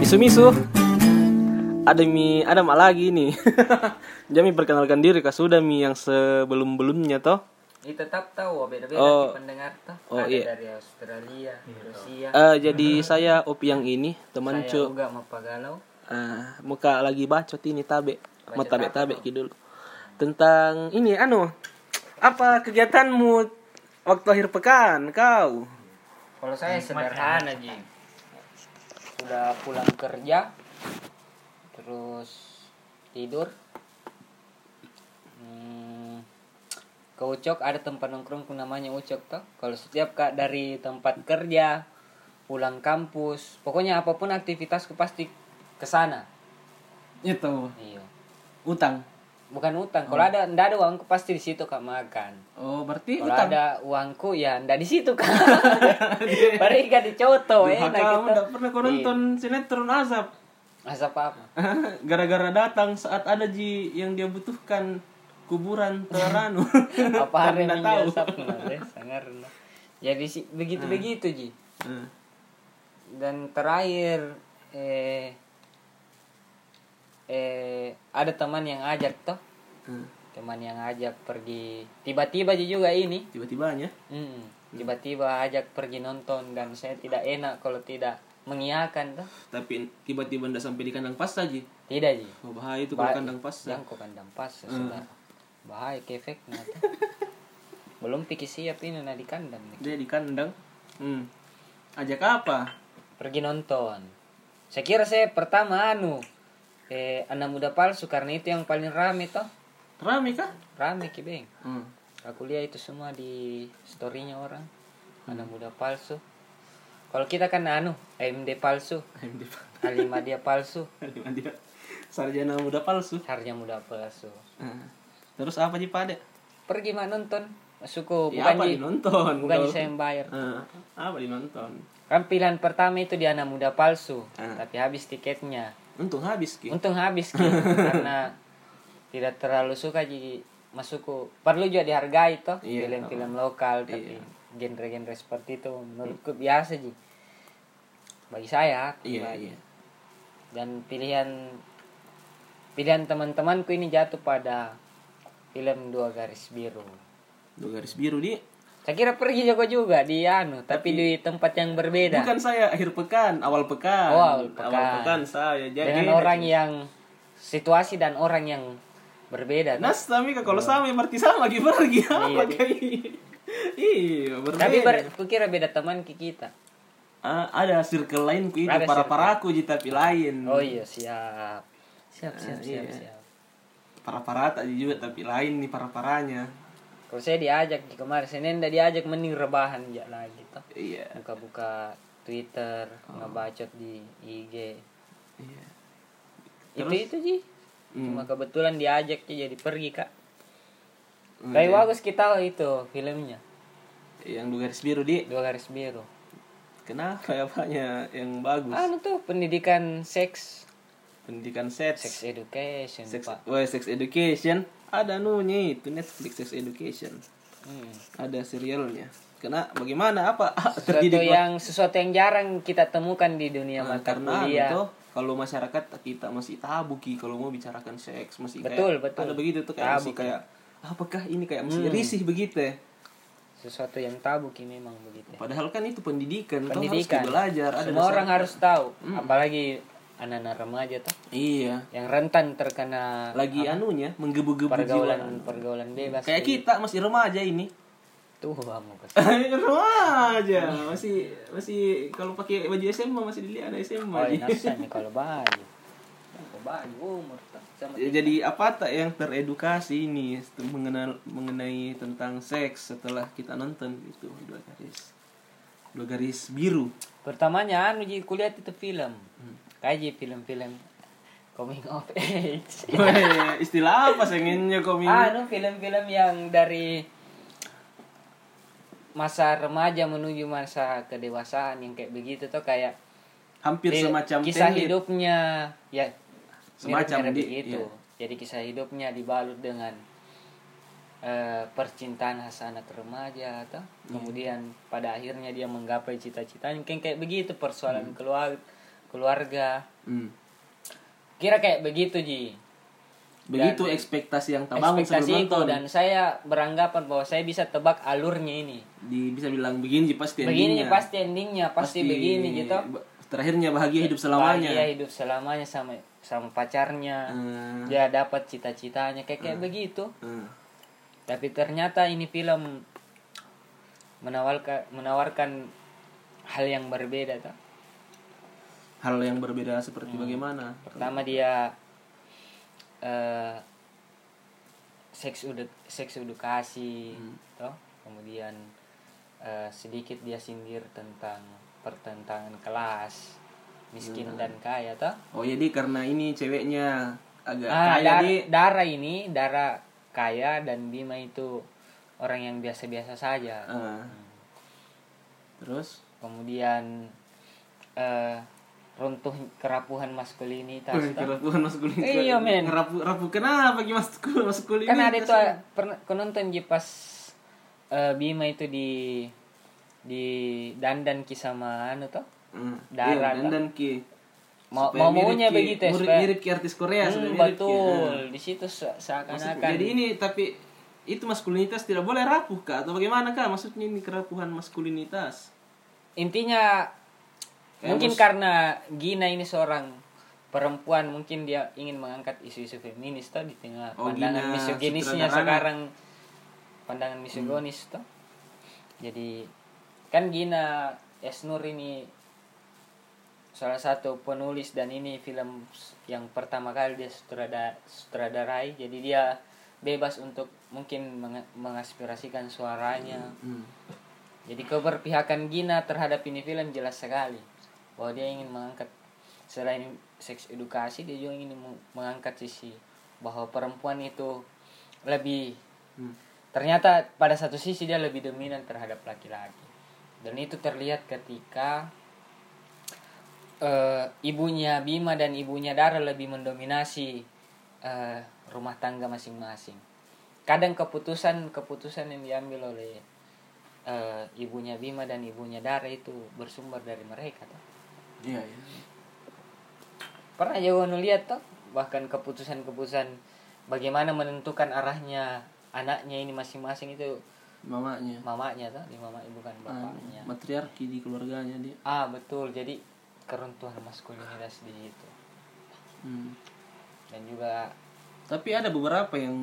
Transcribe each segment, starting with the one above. Misu-misu Ada Mi, ada mak lagi nih Jami perkenalkan diri Kak Suda Mi yang sebelum-belumnya toh Ini tetap tahu beda-beda Oh. di pendengar tuh. Oh, Ada iya. dari Australia, Rusia. Eh, Jadi saya Opi yang ini teman saya cu juga mau pagalau. Ah, Muka lagi bacot ini tabe Mau Bacot apa tabe-tabe gitu dulu Tentang ini anu Apa kegiatanmu waktu akhir pekan kau? Kalau saya sederhana Ji. Udah pulang kerja terus tidur. Hmm, ke Ucok ada tempat nongkrong ku namanya Ucok tuh. Kalau setiap kak dari tempat kerja, pulang kampus, pokoknya apapun aktivitasku pasti ke sana. Itu Iya. utang Bukan utang. Kalau Hmm. ada ndak ada uangku pasti di situ kak makan. Oh berarti Kalau ada uangku ya ndak di situ kan. Bari gak dicoto enak kamu gitu. nggak pernah kau nonton sinetron azab Asap apa? gara-gara datang saat ada ji yang dia butuhkan kuburan Teranu Apa hari Nggak minggu ya? tahu. Hmm. asap kemarin, sangar lah. Jadi sih Ya, begitu begitu ji. Eh, Dan terakhir eh eh ada teman yang ajak toh eh, teman yang ajak pergi tiba-tiba ji juga ini tiba-tibanya Mm, tiba-tiba ajak pergi nonton dan saya tidak enak kalau tidak mengiakan toh tapi tiba-tiba ndak sampai di kandang pas ji tidak ji oh, bahaya itu kalau Bahaya. kandang pas yang kau kandang pas sudah bahaya kefek nanti belum pikir siap ini nah di kandang nih. dia di kandang hmm. ajak apa pergi nonton saya kira saya pertama anu eh anak muda palsu karena itu yang paling rame toh rame kah rame kibeng hmm. aku lihat itu semua di storynya orang anak muda palsu kalau kita kan anu AMD palsu AMD Alima dia palsu dia sarjana muda palsu harga muda palsu Eh, terus apa ji pade pergi mak nonton suku ya, Oh, bukan apa di dinonton bukan di Kalau- saya yang bayar Eh, apa dinonton Kan pilihan pertama itu di anak muda palsu, Ah. Iya. tapi habis tiketnya. untung habis ki Untung habis Ki, karena tidak terlalu suka jadi masukku. Perlu juga dihargai toh Iya. film-film lokal tapi genre-genre seperti itu menurutku biasa ji. Bagi saya iya pribadi. iya dan pilihan pilihan teman-temanku ini jatuh pada film dua garis biru. dua garis biru di Saya kira pergi Joko juga di anu, tapi, di tempat yang berbeda. Bukan saya akhir pekan, awal pekan. Oh, awal pekan. saya. Jadi dengan orang yang situasi dan orang yang berbeda. Nas tapi kalau sama berarti sama lagi pergi apa kayak Iya, berbeda. tapi ber, kukira beda teman ke kita. Ah, ada circle lain ku itu Ada para paraku ji tapi lain. Oh iya siap. Ah, iya. Siap siap siap siap. Para para tak juga tapi lain nih para paranya. Kalau saya diajak di kemarin Senin udah diajak mending rebahan aja lagi toh. Iya. Buka-buka Twitter, ngebacot di IG. Iya. Itu itu Ji. Cuma kebetulan diajak Ji, jadi pergi, Kak. Hmm, Tapi bagus kita itu filmnya. Yang dua garis biru di Dua garis biru. kenapa ya apanya yang bagus? Anu tuh pendidikan seks, Pendidikan seks. sex education, Sex, Pak. wah, sex education. Ada nunya itu Netflix sex education. Hmm. ada serialnya kena bagaimana apa sesuatu terjadi yang sesuatu yang jarang kita temukan di dunia Nah, mata karena anu kuliah itu kalau masyarakat kita masih tabu ki kalau mau bicarakan seks masih Betul, kayak, betul. ada begitu tuh kayak Tabu, Hmm. masih kayak apakah ini kayak masih risih begitu ya sesuatu yang tabu ki memang begitu padahal kan itu pendidikan, toh harus pendidikan belajar ada Hmm. semua dasar- orang harus tahu apalagi anak-anak remaja tuh iya yang rentan terkena lagi anunya menggebu-gebu jiwa pergaulan Iya. pergaulan bebas kayak kita masih remaja ini tuh kamu remaja masih masih kalau pakai baju SMA masih dilihat anak SMA oh, Ji. nafsanya kalau Iya. baju kalau baju umur tuh sama Ya, jadi apa tak yang teredukasi ini setem- mengenal mengenai tentang seks setelah kita nonton itu dua garis dua garis biru pertamanya anu jadi kuliah itu film kayak ji film-film coming of age Weh, istilah apa sengennya komik anu film-film yang dari masa remaja menuju masa kedewasaan yang kayak begitu tuh kayak hampir eh, semacam kisah Tenet. hidupnya ya Semacam mirip-mirip di- iya. begitu jadi kisah hidupnya dibalut dengan eh, percintaan khas anak remaja atau Iya. kemudian Hmm. pada akhirnya dia menggapai cita-citanya kayak kayak begitu persoalan keluarga keluarga Mm. Kira kayak begitu Ji. Begitu ekspektasi yang tabangun Ekspektasi Nah, sebelum itu nonton. dan saya beranggapan bahwa saya bisa tebak alurnya ini. Di, bisa bilang begini Ji, pasti Begini endingnya. pasti endingnya, pasti, begini gitu. ba- Terakhirnya bahagia hidup selamanya. Bahagia hidup selamanya sama sama pacarnya. Eh, Dia Ya, dapat cita-citanya kayak kayak begitu. eh. Tapi ternyata ini film menawarkan menawarkan hal yang berbeda tuh. Hal yang berbeda seperti bagaimana? Pertama dia eh seks udah seks edukasi toh. Kemudian eh, sedikit dia sindir tentang pertentangan kelas miskin dan kaya toh. Oh jadi karena ini ceweknya agak Ah, Ya, kaya dar- Ji. Dara ini Dara kaya dan Bima itu orang yang biasa-biasa saja. Eh. Terus? Kemudian eh runtuh kerapuhan maskulinitas. Wih, toh. Kerapuhan maskulin. Iya, men. Rapu, rapu kenapa gimana maskulin? maskulin Kan ini? ada itu ah, pernah aku nonton je pas eh, Bima itu di di dandan ki sama anu toh. Hmm. Darah, Iya, dan tak? dan ki. Mau Supaya mirip maunya ki- begitu ya, mirip, supaya- mirip ki artis Korea Hmm, sudah mirip ki. betul. kan- Nah. Di situ se- Maksud- seakan-akan Jadi ini tapi itu maskulinitas tidak boleh rapuh kak atau bagaimana kak maksudnya ini kerapuhan maskulinitas intinya Kayak mungkin mus- karena Gina ini seorang perempuan mungkin dia ingin mengangkat isu-isu feminis toh di tengah Oh, Gina, pandangan misoginisnya sutradara. Hmm. sekarang pandangan misogonis toh jadi kan Gina Esnur ini salah satu penulis dan ini film s- yang pertama kali dia sutrada sutradarai jadi dia bebas untuk mungkin menge- mengaspirasikan suaranya Hmm. jadi keberpihakan Gina terhadap ini film jelas sekali bahwa dia ingin mengangkat selain seks edukasi dia juga ingin meng- mengangkat sisi bahwa perempuan itu lebih Hmm. ternyata pada satu sisi dia lebih dominan terhadap laki-laki dan itu terlihat ketika eh, ibunya Bima dan ibunya Dara lebih mendominasi eh, rumah tangga masing-masing kadang keputusan keputusan yang diambil oleh eh, ibunya Bima dan ibunya Dara itu bersumber dari mereka tuh. Iya, iya. pernah juga nu lihat tuh bahkan keputusan-keputusan bagaimana menentukan arahnya anaknya ini masing-masing itu mamanya mamanya tuh di mama bukan Ah, bapaknya matriarki di keluarganya dia ah betul jadi keruntuhan maskulinitas di situ Hmm. dan juga tapi ada beberapa yang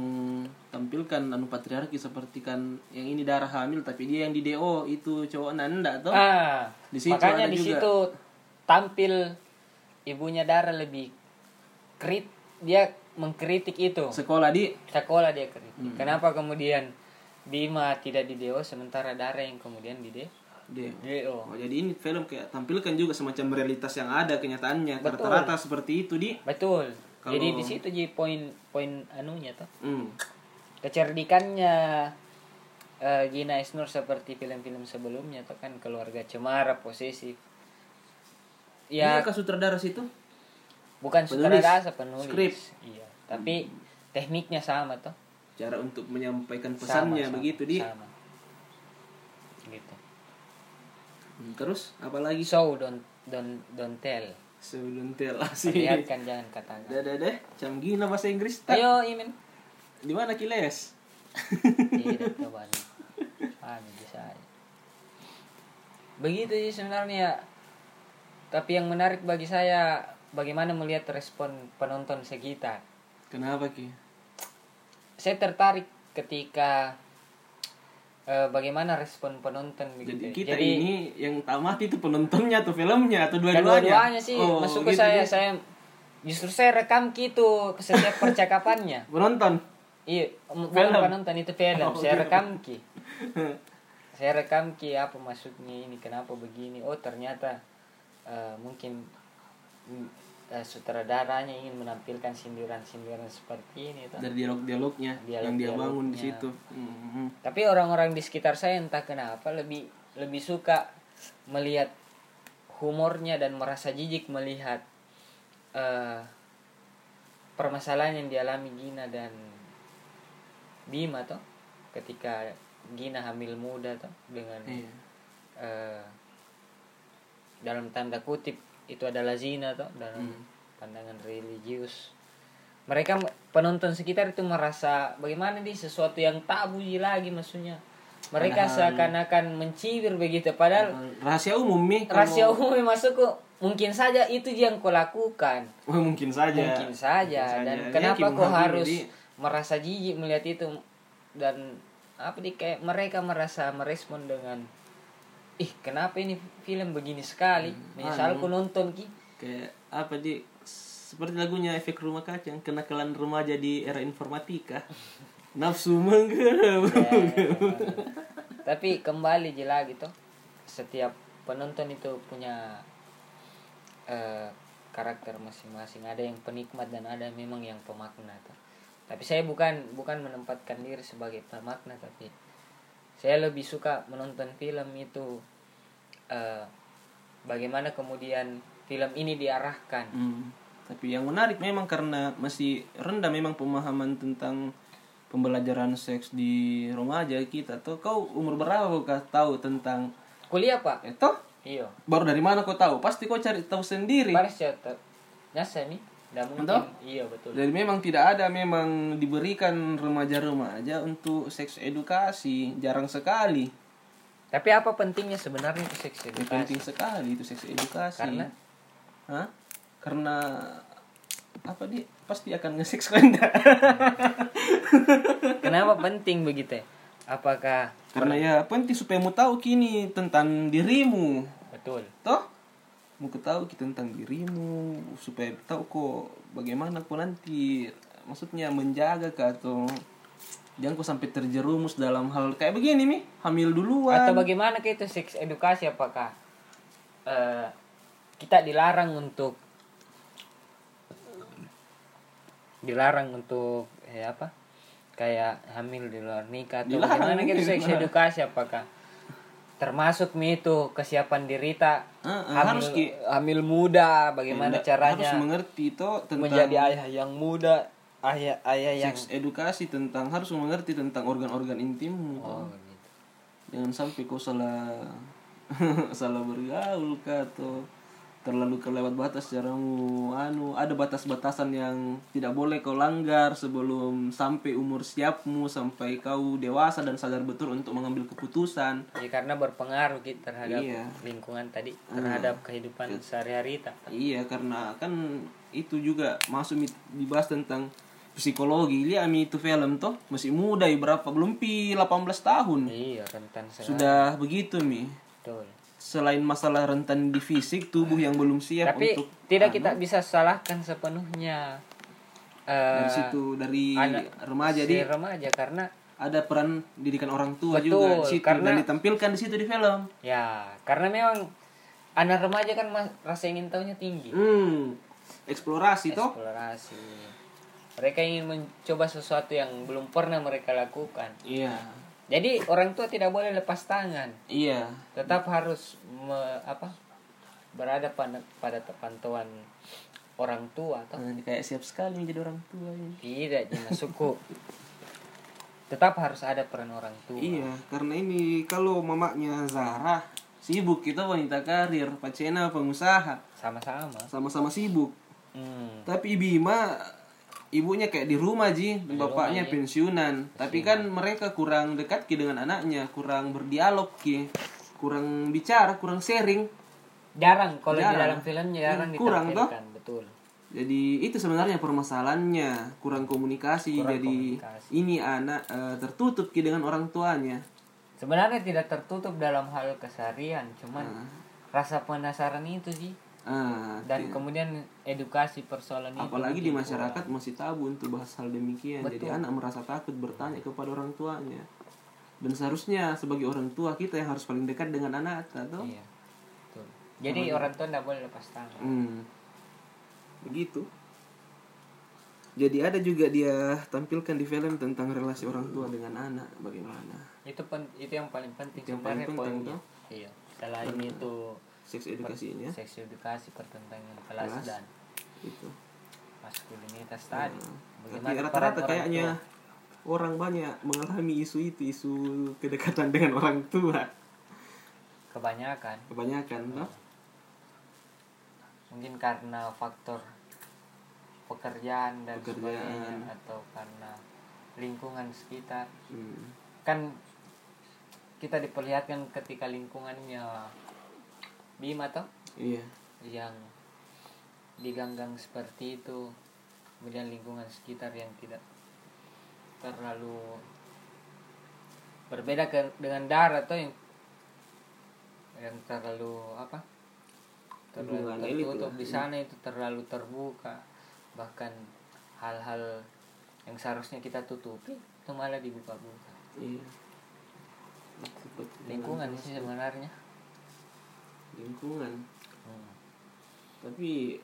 tampilkan anu patriarki seperti kan yang ini darah hamil tapi dia yang di DO itu cowok nanda tuh ah Oh. Di situ makanya ada di juga. situ tampil ibunya Dara lebih krit dia mengkritik itu sekolah di sekolah dia kritik. Hmm. Kenapa kemudian Bima tidak di DO sementara Dara yang kemudian di D- DO. DO? Oh, jadi ini film kayak tampilkan juga semacam realitas yang ada kenyataannya rata-rata seperti itu di Betul. Kalau- Jadi di situ jadi poin-poin anunya tuh. Hmm. Kecerdikannya eh, Gina Isnur seperti film-film sebelumnya tuh kan keluarga cemara, posesif. Ya, Ini ke sutradara situ? bukan penulis. sutradara penulis. Skrip. Hmm. Iya, tapi tekniknya sama tuh. Cara untuk menyampaikan Sama, pesannya sama, begitu di. Sama. Gitu. Hmm, Terus apalagi So don't don't don't tell. sebelum telasi. Perlihatkan Iya, jangan katakan. Dadah deh, cam gina bahasa Inggris tak? Ayo Imin. Di mana Kiles? Tidak kawan. Ah, bisa. aja. Begitu sih sebenarnya. Tapi yang menarik bagi saya bagaimana melihat respon penonton sekitar. Kenapa Ki? Saya tertarik ketika eh, bagaimana respon penonton begitu. Jadi kita ini yang tamat itu penontonnya atau filmnya atau dua-duanya? kedua-duanya sih Oh, masuk ke gitu, saya gitu. saya justru saya rekam gitu setiap percakapannya. Penonton. Iya, Film. m- bukan penonton itu film. Oh, saya film. rekam ki. saya rekam ki apa maksudnya ini kenapa begini? Oh ternyata eh, mungkin mm, eh, sutradaranya ingin menampilkan sindiran-sindiran seperti ini. toh. Dari dialog-dialognya yang dia Dialog-dialognya. bangun di situ. Mhm. Tapi orang-orang di sekitar saya entah kenapa lebih lebih suka melihat humornya dan merasa jijik melihat eh, permasalahan yang dialami Gina dan Bima toh ketika Gina hamil muda toh dengan Iya. eh, dalam tanda kutip itu adalah zina toh dalam Hmm. pandangan religius mereka me- penonton sekitar itu merasa bagaimana nih sesuatu yang tabu lagi maksudnya mereka Padahal- seakan-akan mencibir begitu padahal Mm-hmm. rahasia umum nih kalau- rahasia umum yang masuk kok mungkin saja itu yang kau lakukan Wah, Oh, mungkin saja mungkin saja Mungkin dan saja. Iya, Ini kenapa Kim kok Hang-un harus jadi- merasa jijik melihat itu dan apa nih kayak mereka merasa merespon dengan ih kenapa ini film begini sekali misal anu. aku nonton ki kayak apa di seperti lagunya efek rumah kaca yang kenakalan remaja di era informatika nafsu menggeram Eh, tapi kembali je lagi toh setiap penonton itu punya eh, karakter masing-masing ada yang penikmat dan ada memang yang pemakna toh. tapi saya bukan bukan menempatkan diri sebagai pemakna tapi saya lebih suka menonton film itu eh, bagaimana kemudian film ini diarahkan Hmm. tapi yang menarik memang karena masih rendah memang pemahaman tentang pembelajaran seks di remaja kita tuh kau umur berapa kau tahu tentang kuliah pak itu iyo baru dari mana kau tahu pasti kau cari tahu sendiri baris catat nyasa nih Dah mungkin Iya. Betul? iya betul Jadi memang tidak ada memang diberikan remaja-remaja untuk seks edukasi jarang sekali. Tapi apa pentingnya sebenarnya itu seks Ya, edukasi? penting sekali itu seks edukasi. Karena? Hah? Karena apa dia pasti akan nge-seks kau enggak? Kenapa penting begitu? ya? Apakah Karena ya penting supaya mu tahu kini tentang dirimu, betul? toh? Mu tahu kita tentang dirimu supaya tahu kok bagaimana kau nanti maksudnya menjaga kah atau jangan kau sampai terjerumus dalam hal kayak begini mi hamil duluan Atau bagaimana ke itu seks edukasi apakah eh, kita dilarang untuk dilarang untuk eh, apa? Kayak hamil di luar nikah atau Dilarang, bagaimana ke itu dilarang. seks edukasi apakah termasuk mi itu kesiapan dirita Ah, ah, hamil, harus ki hamil muda bagaimana Nggak- caranya harus mengerti itu tentang menjadi ayah yang muda ayah ayah yang seks edukasi tentang harus mengerti tentang organ-organ intimmu toh. Oh, gitu. jangan sampai kau salah salah bergaul kah atau terlalu kelewat batas caramu anu ada batas-batasan yang tidak boleh kau langgar sebelum sampai umur siapmu sampai kau dewasa dan sadar betul untuk mengambil keputusan ya karena berpengaruh gitu terhadap Iya. lingkungan tadi terhadap kehidupan sehari-hari tak Iya karena kan itu juga masuk mit- dibahas tentang psikologi. Lihat Ami itu film toh masih muda ya, berapa belum pi 18 tahun. iya rentan sekali Sudah begitu Mi. betul Selain masalah rentan di fisik tubuh yang belum siap tapi untuk tidak kita bisa salahkan sepenuhnya eh, dari situ dari anak- remaja si di remaja karena ada peran didikan orang tua Betul, juga di situ dan karena- ditampilkan di situ di film. ya karena memang anak remaja kan mas, rasa ingin tahunya tinggi Hmm. Eksplorasi toh. eksplorasi mereka ingin mencoba sesuatu yang belum pernah mereka lakukan Iya. jadi orang tua tidak boleh lepas tangan Iya. tetap harus me- apa berada pada pada te- pantauan orang tua atau Eh, Kayak siap sekali menjadi orang tua ini. tidak jangan suku tetap harus ada peran orang tua Iya, karena ini kalau mamanya Zara sibuk kita wanita karir, Pacena pengusaha, sama-sama sama-sama sibuk. hmm. Tapi Bima ibunya kayak di rumah Ji, dan bapaknya pensiunan. Tapi kan mereka kurang dekat Ki dengan anaknya, kurang berdialog Ki, kurang bicara, kurang sharing. jarang kalau di Jarang. dalam filmnya jarang Hmm, kurang, ditampilkan betul Jadi itu sebenarnya permasalahannya, kurang komunikasi Kurang jadi komunikasi. ini anak eh, tertutup Ki dengan orang tuanya. sebenarnya tidak tertutup dalam hal keseharian cuman rasa penasaran itu sih Ah, dan kemudian edukasi persoalan itu Apalagi di mungkin masyarakat masih tabu untuk bahas hal demikian. Jadi anak merasa takut bertanya kepada orang tuanya. Dan seharusnya sebagai orang tua kita yang harus paling dekat dengan anak atau kurang. Iya, betul. jadi orang tua tidak boleh lepas tangan Hmm. begitu. Jadi ada juga dia tampilkan di film tentang relasi orang tua dengan anak bagaimana. itu pen, itu yang paling penting Yang paling sebenarnya penting, poinnya. iya selain itu Seks ya? edukasinya seks edukasi pertentangan Iya. kelas, Kelas. dan itu. maskulinitas tadi bagaimana Gitu. Nah, Tapi peran Iya. rata-rata orang kayaknya tua? orang banyak mengalami isu itu, isu kedekatan dengan orang tua. kebanyakan Oh. Kebanyakan, toh? mungkin karena faktor pekerjaan dan Pekerjaan. sebagainya atau karena lingkungan sekitar Hmm. kan kita diperlihatkan ketika lingkungannya Bima toh Iya. yang diganggang seperti itu kemudian lingkungan sekitar yang tidak terlalu berbeda ke- dengan darat atau yang yang terlalu apa terlalu Lingkungan elit tertutup lah. di sana itu terlalu terbuka bahkan hal-hal yang seharusnya kita tutupi itu malah dibuka-buka Iya. Seperti lingkungan sih sebenarnya lingkungan. Tapi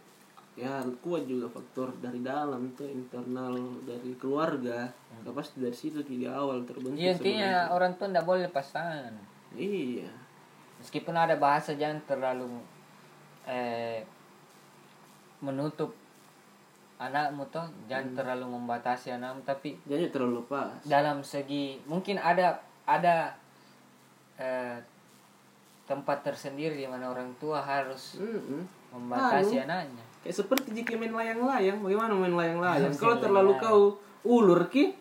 ya harus kuat juga faktor dari dalam tuh internal dari keluarga. Gak pasti dari situ di awal terbentuk. Hmm. Iya, intinya sebenarnya. orang tua tidak boleh lepas tangan Iya. meskipun ada bahasa jangan terlalu eh, menutup anakmu toh jangan terlalu membatasi anakmu tapi Jadi terlalu pas. dalam segi mungkin ada ada eh, tempat tersendiri di mana orang tua harus Mm-mm. membatasi anaknya Kayak seperti jika main layang-layang, bagaimana main Iya, layang-layang? Kalau terlalu kau ulur ki,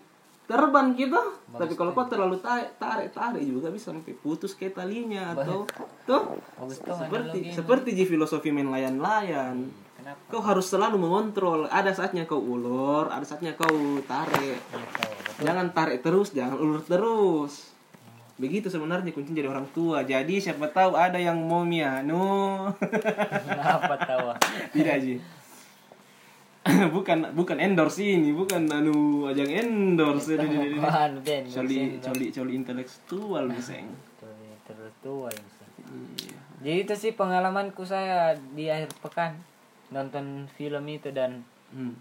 terbang kita. Tapi kalau kau terlalu ta- tarik tarik juga bisa sampai putus kayak talinya atau tuh Bagus tuh Hmm. seperti seperti di filosofi main layang-layang. kenapa Kau harus selalu mengontrol. Ada saatnya kau ulur, ada saatnya kau tarik. Jangan tarik terus, jangan ulur terus. Begitu sebenarnya kunci jadi orang tua. Jadi siapa tahu ada yang mau mianu. kenapa tawa Tidak sih. bukan bukan endorse ini, bukan anu ajang endorse. Ini, ini, ini. Apaan, Ben? Coli coli coli intelektual miseng. Coli terlalu tua ini. Iya. Jadi itu sih pengalamanku saya di akhir pekan nonton film itu dan Hmm.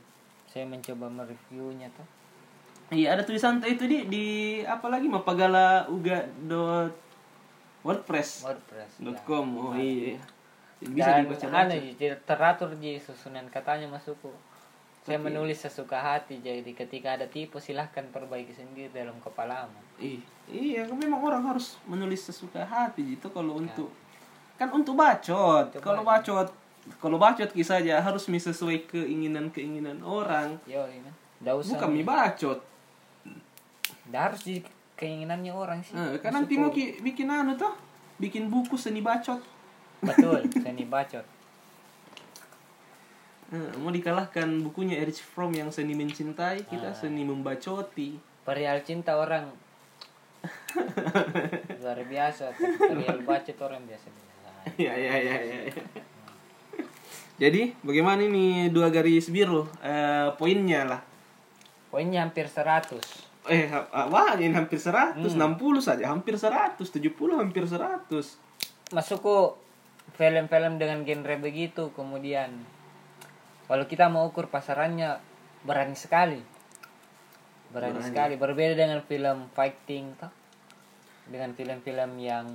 saya mencoba mereviewnya tuh. Iya, ada tulisan itu di di apa lagi mapagala uga dot wordpress WordPress. dot com. Oh iya. Bisa Bisa dibaca dan anu, jadi teratur di susunan katanya masukku. Saya menulis sesuka hati jadi ketika ada tipu silahkan perbaiki sendiri dalam kepalamu. Ih, iya, kan memang orang harus menulis sesuka hati gitu kalau untuk kan untuk bacot. Kalau bacot, kalau bacot kisah aja harus mi sesuai keinginan-keinginan orang. Yo, ini. Nggak usah. Bukan mi bacot. Nggak harus di keinginannya orang sih. Eh, kan nanti mau ki- bikin anu tuh, bikin buku seni bacot. Betul, seni bacot. Eh, mau dikalahkan bukunya Erich Fromm yang seni mencintai, kita seni membacoti. Perihal cinta orang luar biasa, tapi perihal bacot orang biasa biasa. ya, ya, ya, ya. ya. Jadi, bagaimana ini dua garis biru eh, poinnya lah? Poinnya hampir 100. Eh, ha- ha- wah, ini hampir 100, Hmm. 60 saja, hampir 100, 70 hampir 100. Masukku film-film dengan genre begitu kemudian kalau kita mau ukur pasarannya berani sekali. Berani, sekali berbeda dengan film fighting toh. Dengan film-film yang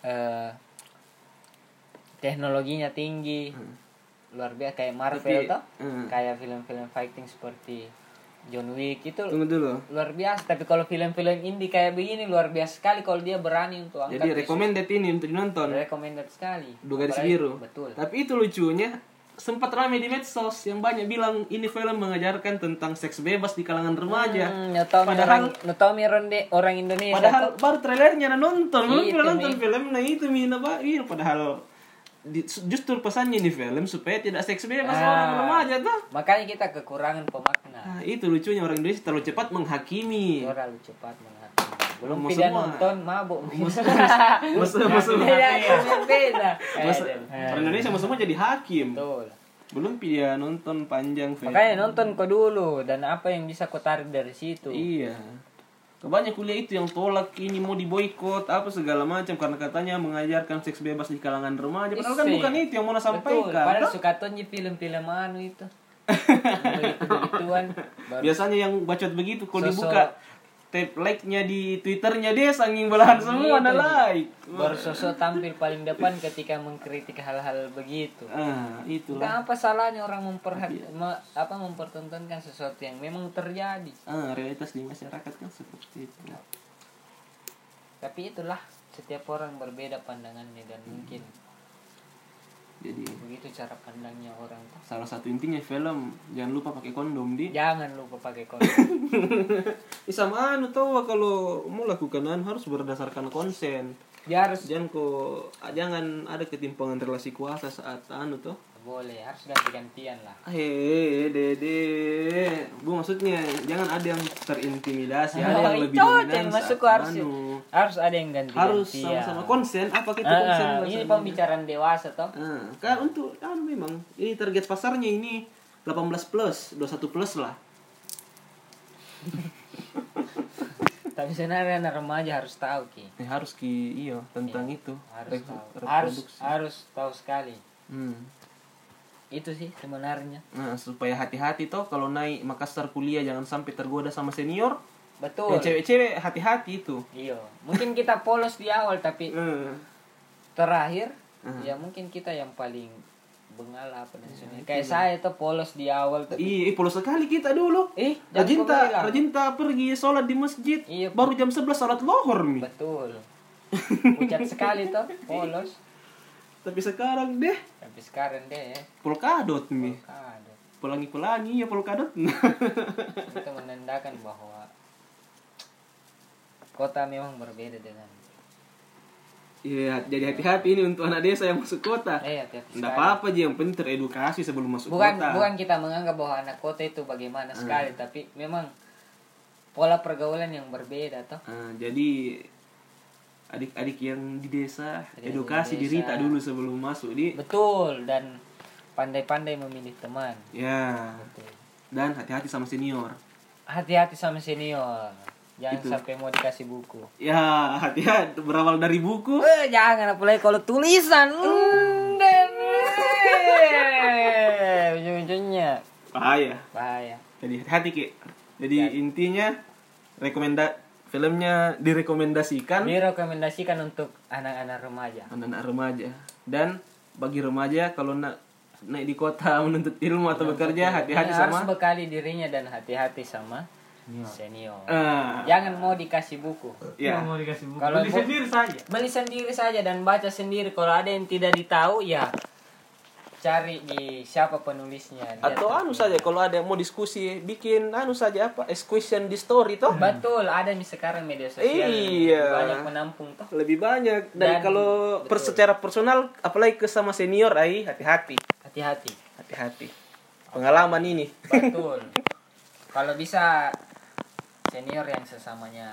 eh, teknologinya tinggi. Luar biasa kayak Marvel Tapi, toh. eh. Kayak film-film fighting seperti John Wick itu Tunggu dulu. luar biasa tapi kalau film-film indie kayak begini luar biasa sekali kalau dia berani untuk angkat Jadi recommended ini untuk dinonton. recommended sekali Dua garis Apalagi- biru. betul Tapi itu lucunya sempat ramai di medsos yang banyak bilang ini film mengajarkan tentang seks bebas di kalangan remaja. hmm, Notomi orang Notomi Ronde orang Indonesia Padahal baru trailernya nah nonton, belum Iya, Itu, pernah nonton film nah itu mina Pak. Iya, padahal di- justru pesannya di film supaya tidak seks bebas Ah. orang remaja tuh. makanya kita kekurangan pemakna Nah, itu lucunya orang Indonesia terlalu cepat menghakimi. terlalu cepat menghakimi belum Mau tidak semua. mabuk mabuk musuh Iya, musuh musuh beda beda Eh, orang Indonesia musuh semua jadi hakim betul belum dia nonton panjang film makanya nonton kau dulu dan apa yang bisa kau tarik dari situ iya kebanyakan kuliah itu yang tolak ini mau diboykot apa segala macam karena katanya mengajarkan seks bebas di kalangan remaja padahal kan Isi. bukan itu yang mau Nona Betul, sampaikan padahal suka tonji film-film anu itu. Begituan. biasanya yang bacot begitu kalau Sosok- dibuka tab like-nya di twitternya dia sanging belahan semua ada like Baru sosok tampil paling depan ketika mengkritik hal-hal begitu. ah itulah Nah, apa salahnya orang memperhati me- apa mempertontonkan sesuatu yang memang terjadi. ah realitas di masyarakat kan seperti itu Tapi itulah setiap orang berbeda pandangannya dan mungkin jadi begitu cara pandangnya orang Toh. salah satu intinya film jangan lupa pakai kondom di jangan lupa pakai kondom Ih, sama anu tau kalau mau lakukan anu harus berdasarkan konsen ya harus jangan kok jangan ada ketimpangan relasi kuasa saat anu tuh boleh harus ganti-gantian lah Hehehe, dede, bu maksudnya jangan ada yang terintimidasi, ada Oh, yang lebih itu dominan. yang saat masuk harus ya. anu. harus ada yang ganti harus sama-sama konsen. Apa kita konsen? Ah, ini bahasanya? pembicaraan dewasa toh Ah, kan untuk anu memang ini target pasarnya ini 18 plus, 21 plus lah. tapi sebenarnya anak remaja harus tahu ki Eh, harus ki iyo tentang itu. Iya, harus Re- tahu harus reproduksi. harus tahu sekali Hmm. itu sih sebenarnya Nah, supaya hati-hati toh kalau naik Makassar kuliah jangan sampai tergoda sama senior. betul Yang cewek-cewek hati-hati itu. iyo Iya. mungkin kita polos di awal tapi Eh, terakhir ya mungkin kita yang paling bengal apa dan sebagainya. kayak saya tuh polos di awal Iya, tapi Iya, polos sekali kita dulu. eh jangan kau Rajinta, bilang. Rajinta pergi sholat di masjid. Iya. Baru jam 11 sholat lohor nih. betul pucat sekali tuh polos Tapi sekarang deh tapi sekarang deh ya, polkadot nih. kado Pelangi-pelangi ya polkadot. itu menandakan bahwa kota memang berbeda dengan Iya, jadi hati-hati ini untuk anak desa yang masuk kota. eh hati-hati Enggak sekali. apa-apa aja yang penting teredukasi sebelum masuk bukan kota. Hmm. bukan kita menganggap bahwa anak kota itu bagaimana sekali tapi memang pola pergaulan yang berbeda toh Ah, jadi adik-adik yang di desa Adik-adik edukasi di diri desa. tak dulu sebelum masuk di betul dan pandai-pandai memilih teman ya Betul. dan hati-hati sama senior hati-hati sama senior jangan sampai mau dikasih buku ya hati-hati berawal dari buku Eh, jangan apalagi kalau tulisan Mm, dan eh, ujung-ujungnya bahaya bahaya jadi hati-hati Ki. jadi intinya rekomenda filmnya direkomendasikan Iya. direkomendasikan untuk anak-anak remaja anak-anak remaja dan bagi remaja kalau nak naik di kota menuntut ilmu atau bekerja hati-hati Ini sama Ya, Iya. harus bekali dirinya dan hati-hati sama senior Ah, jangan mau dikasih buku ya mau dikasih buku Kalau beli bu- sendiri saja beli sendiri saja dan baca sendiri kalau ada yang tidak ditahu ya cari di siapa penulisnya Dia atau anu saja kalau ada yang mau diskusi bikin anu saja apa eh, question di story toh Betul, ada nih sekarang media sosial Iya. banyak menampung toh. lebih banyak dan, Dan- kalau per, secara personal apalagi ke sama senior ai hati-hati Hati-hati. hati-hati pengalaman ini Betul. Kalau bisa senior yang sesamanya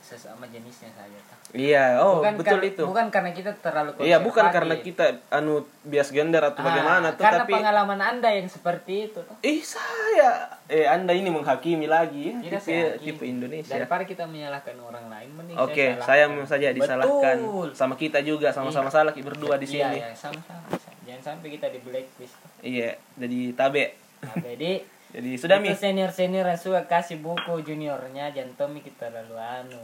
sesama jenisnya saja toh. iya oh Bukan betul kar- itu Bukan karena kita terlalu Iya bukan konservatif. karena kita anu bias gender atau Ah, bagaimana tuh karena tapi pengalaman Anda yang seperti itu toh. ih saya eh Anda ini menghakimi lagi ya Tidak tipe, Iya, saya hakimi. tipe Indonesia. Daripada kita menyalahkan orang lain mending Oke, salahkan. saya memang saja disalahkan Betul. sama kita juga sama-sama salah ki berdua di Iya, sini. ya, sama-sama. Jangan sampai kita di blacklist. toh. Iya, jadi tabe. Nah, jadi Jadi sudah mi. itu senior senior yang suka kasih buku juniornya jantomi kita lalu anu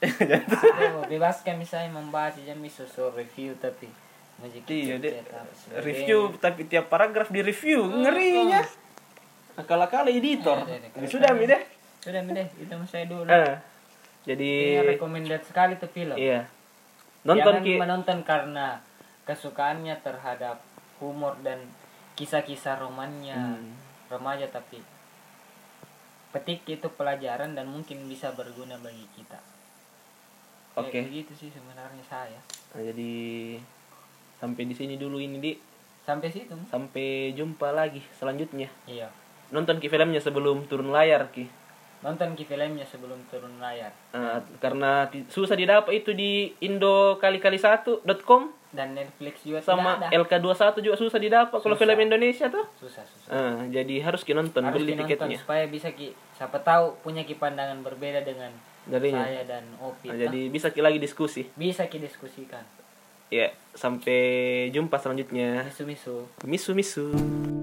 Aduh, bebas kami saya membaca jami susul review tapi musik Iya, itu dek. cetak, sebagainya. Review tapi tiap paragraf di review ngerinya. Akal-akal editor. Oh, Iya, iya, iya. Ya sudah mi deh. sudah Mi, deh itu saya dulu Eh, Jadi ini recommended sekali tuh film iya. Nonton Iya, jangan ki. menonton karena kesukaannya terhadap humor dan kisah-kisah romannya Hmm. remaja tapi petik itu pelajaran dan mungkin bisa berguna bagi kita Ya, Kayak Oke. begitu sih sebenarnya saya Nah, jadi sampai di sini dulu ini di sampai situ sampai jumpa lagi selanjutnya iya nonton ki filmnya sebelum turun layar ki nonton ki filmnya sebelum turun layar Eh, karena ti- susah didapat itu di indo kali kali satu.com dan Netflix juga sama tidak ada. LK21 juga susah didapat kalau Susah. film Indonesia tuh susah susah Eh, jadi harus ki nonton harus beli dinonton tiketnya supaya bisa ki siapa tahu punya ki pandangan berbeda dengan Darinya. saya dan Opi Nah, Iya. toh. jadi bisa ki lagi diskusi bisa ki diskusikan ya sampai jumpa selanjutnya misu misu misu misu